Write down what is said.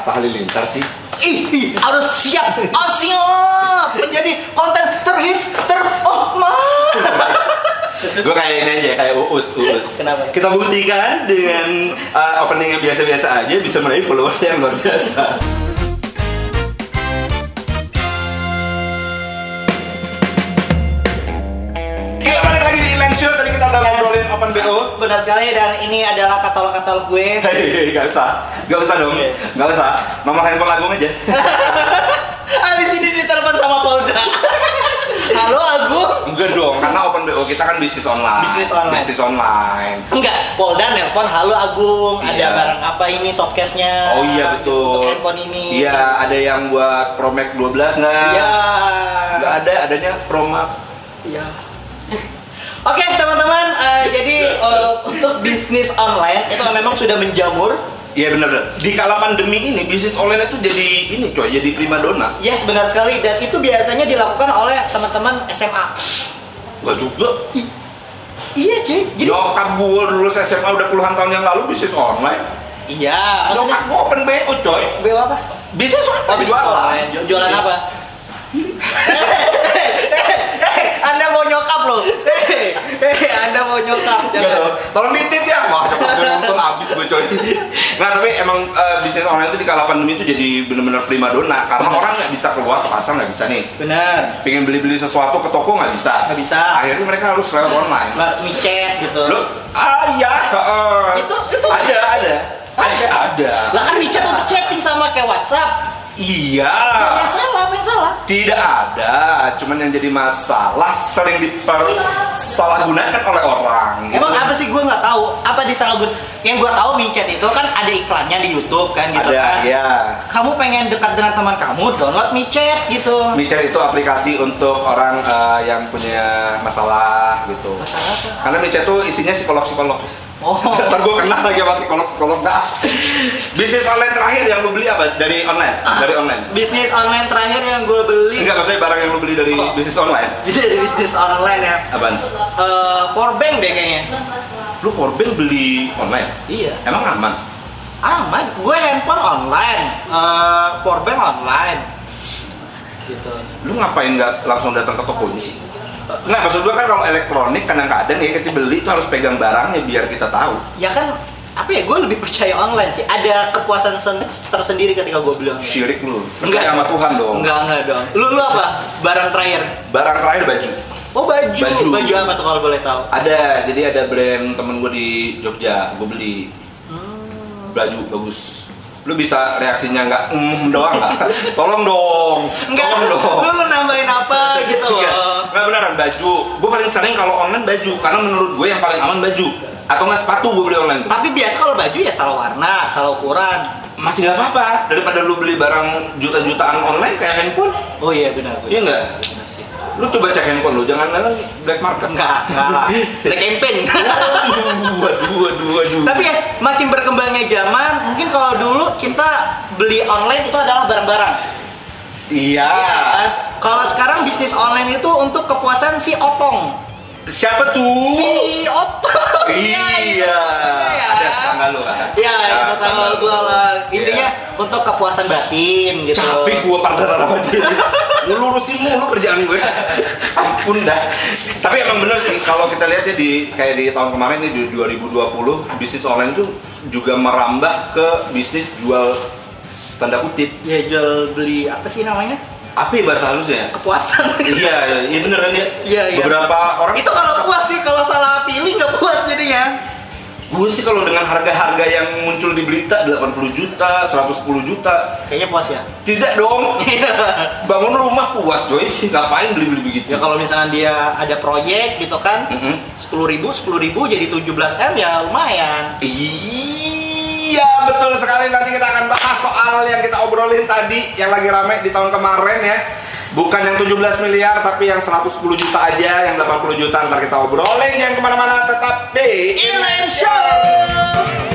sebentar sih. Ih, ih, harus siap, harus siap menjadi konten terhits ter oh ma. Gue kayak ini aja, kayak uus uus. Kenapa? Kita buktikan dengan uh, opening yang biasa-biasa aja bisa meraih follower yang luar biasa. Kita balik lagi di Inline Show. Tadi kita udah ngobrolin open bo. Benar sekali dan ini adalah katalog-katalog gue. Hei, gak usah, gak usah dong, Iya. gak usah. Nomor handphone Agung aja. Habis ini ditelepon sama Polda. Halo Agung. Enggak dong, karena open bo kita kan bisnis online. Bisnis online. Bisnis online. Enggak, Polda nelpon, halo Agung, ada Iya. barang apa ini shopcase-nya? Oh iya betul. Untuk handphone ini. Iya, ada yang buat Promac 12 nah. Iya. Nggak ada, adanya Promac. Iya. Oke teman-teman, eh, jadi eh, untuk bisnis online itu memang sudah menjamur. Iya benar benar. Di kala pandemi ini bisnis online itu jadi ini coy, jadi primadona. Yes, benar sekali. Dan itu biasanya dilakukan oleh teman-teman SMA. Gak juga. Iya cuy. Jadi Nyokap gue dulu SMA udah puluhan tahun yang lalu bisnis online. iya. Maksudnya Nyokap gue open BO coy. BO apa? Bisnis online. Oh, bisnis online. Ju- Jualan apa? Eh, Anda mau nyokap loh. Hei, hei, Anda mau nyokap. Nggak Jangan. tahu. Iya, Tolong ditit ya. Wah, nyokap gue nonton abis gue coy. Nah, tapi emang eh, bisnis online itu di kala pandemi itu jadi benar-benar primadona karena orang nggak bisa keluar ke pasar nggak bisa nih. Benar. pengen beli-beli sesuatu ke toko nggak bisa Nggak bisa. akhirnya mereka harus lewat online Lar micet gitu. lo ah ya heeh. Itu- itu- ada ada ada ada Lah kan micet untuk chatting sama kayak WhatsApp. iya Yang salah, apa yang salah? tidak ada cuman yang jadi masalah sering dipersalahgunakan oleh orang Iya. Emang apa sih gue nggak tahu apa di salah gue- Yang gue tahu micet itu kan ada iklannya di YouTube kan gitu kan. ada ya Kamu pengen dekat dengan teman kamu, download micet gitu. Micet itu aplikasi untuk orang eh, yang punya masalah gitu Masalah apa? karena Micet tuh isinya psikolog-psikolog Oh. Ntar gue kenal lagi sama psikolog-psikolog dah Bisnis online terakhir yang lu beli apa? Dari online? Dari online? Bisnis online terakhir yang gue beli. Enggak, maksudnya barang yang lu beli dari Oh. bisnis online Bisa dari bisnis online ya. Apaan? Eh, power bank deh kayaknya. Lu korban beli online? Iya. Emang aman? Aman. Gue handphone online. Eh, power bank online. Gitu. Lu ngapain nggak langsung datang ke tokonya sih? Nggak, maksud gua kan kalau elektronik kadang-kadang ya kita beli itu harus pegang barangnya biar kita tahu Ya kan apa ya gue lebih percaya online sih. Ada kepuasan sen- tersendiri ketika gue beli online. Syirik lu, percaya sama Tuhan dong Enggak, enggak dong. Lu lu apa? Barang terakhir. Barang terakhir baju Oh, baju. Baju. apa tuh kalau boleh tahu? Ada, jadi ada brand temen gue di Jogja, gue beli Hmm. baju bagus. Lu bisa reaksinya nggak mm doang nggak? Tolong dong, Enggak, tolong lu, dong. lu nambahin apa gitu Enggak, loh. enggak beneran baju. Gue paling sering kalau online baju, karena menurut gue yang paling aman baju. Atau nggak sepatu gue beli online tuh. Tapi biasa kalau baju ya salah warna, salah ukuran. Masih nggak apa-apa daripada lu beli barang juta-jutaan online kayak handphone. Oh iya benar. Iya nggak? Benar sih. Lu coba cek handphone lu, jangan-jangan black market. Enggak, enggak lah. Black campaign. Waduh, waduh, waduh, waduh. Tapi ya, makin berkembangnya zaman, mungkin kalau dulu kita beli online itu adalah barang-barang. Iya. kan? Kalau sekarang bisnis online itu untuk kepuasan si otong. Siapa tuh? Si otong. Ya, itu Oh. maksudnya ya. Iya. Ada tetangga lu kan? Ya, itu tetangga tetangga gua lu. lah. Intinya Nah, Iya. untuk kepuasan batin gitu. capek gua partner sama dia. Lu lurusin mulu kerjaan gue. Ampun dah. Tapi emang bener sih kalau kita lihat ya di kayak di tahun kemarin nih di 2020 bisnis online tuh juga merambah ke bisnis jual tanda kutip. Ya jual beli apa sih namanya? Apa ya bahasa halusnya? Kepuasan. Iya, iya beneran ya. Iya, iya. Beberapa orang itu kalau puas sih, kalau salah pilih nggak puas jadinya. gue sih kalau dengan harga-harga yang muncul di berita 80 juta, 110 juta, Kayaknya puas ya. tidak dong. Iya. bangun rumah puas coy ngapain beli beli begitu Ya kalau misalkan dia ada proyek gitu kan, Mm-mm. sepuluh ribu, sepuluh ribu jadi 17 m ya lumayan. iya betul sekali nanti kita akan bahas soal yang kita obrolin tadi yang lagi rame di tahun kemarin ya bukan yang 17 miliar tapi yang 110 juta aja yang 80 juta ntar kita obrolin yang kemana-mana tetap di Inline Show.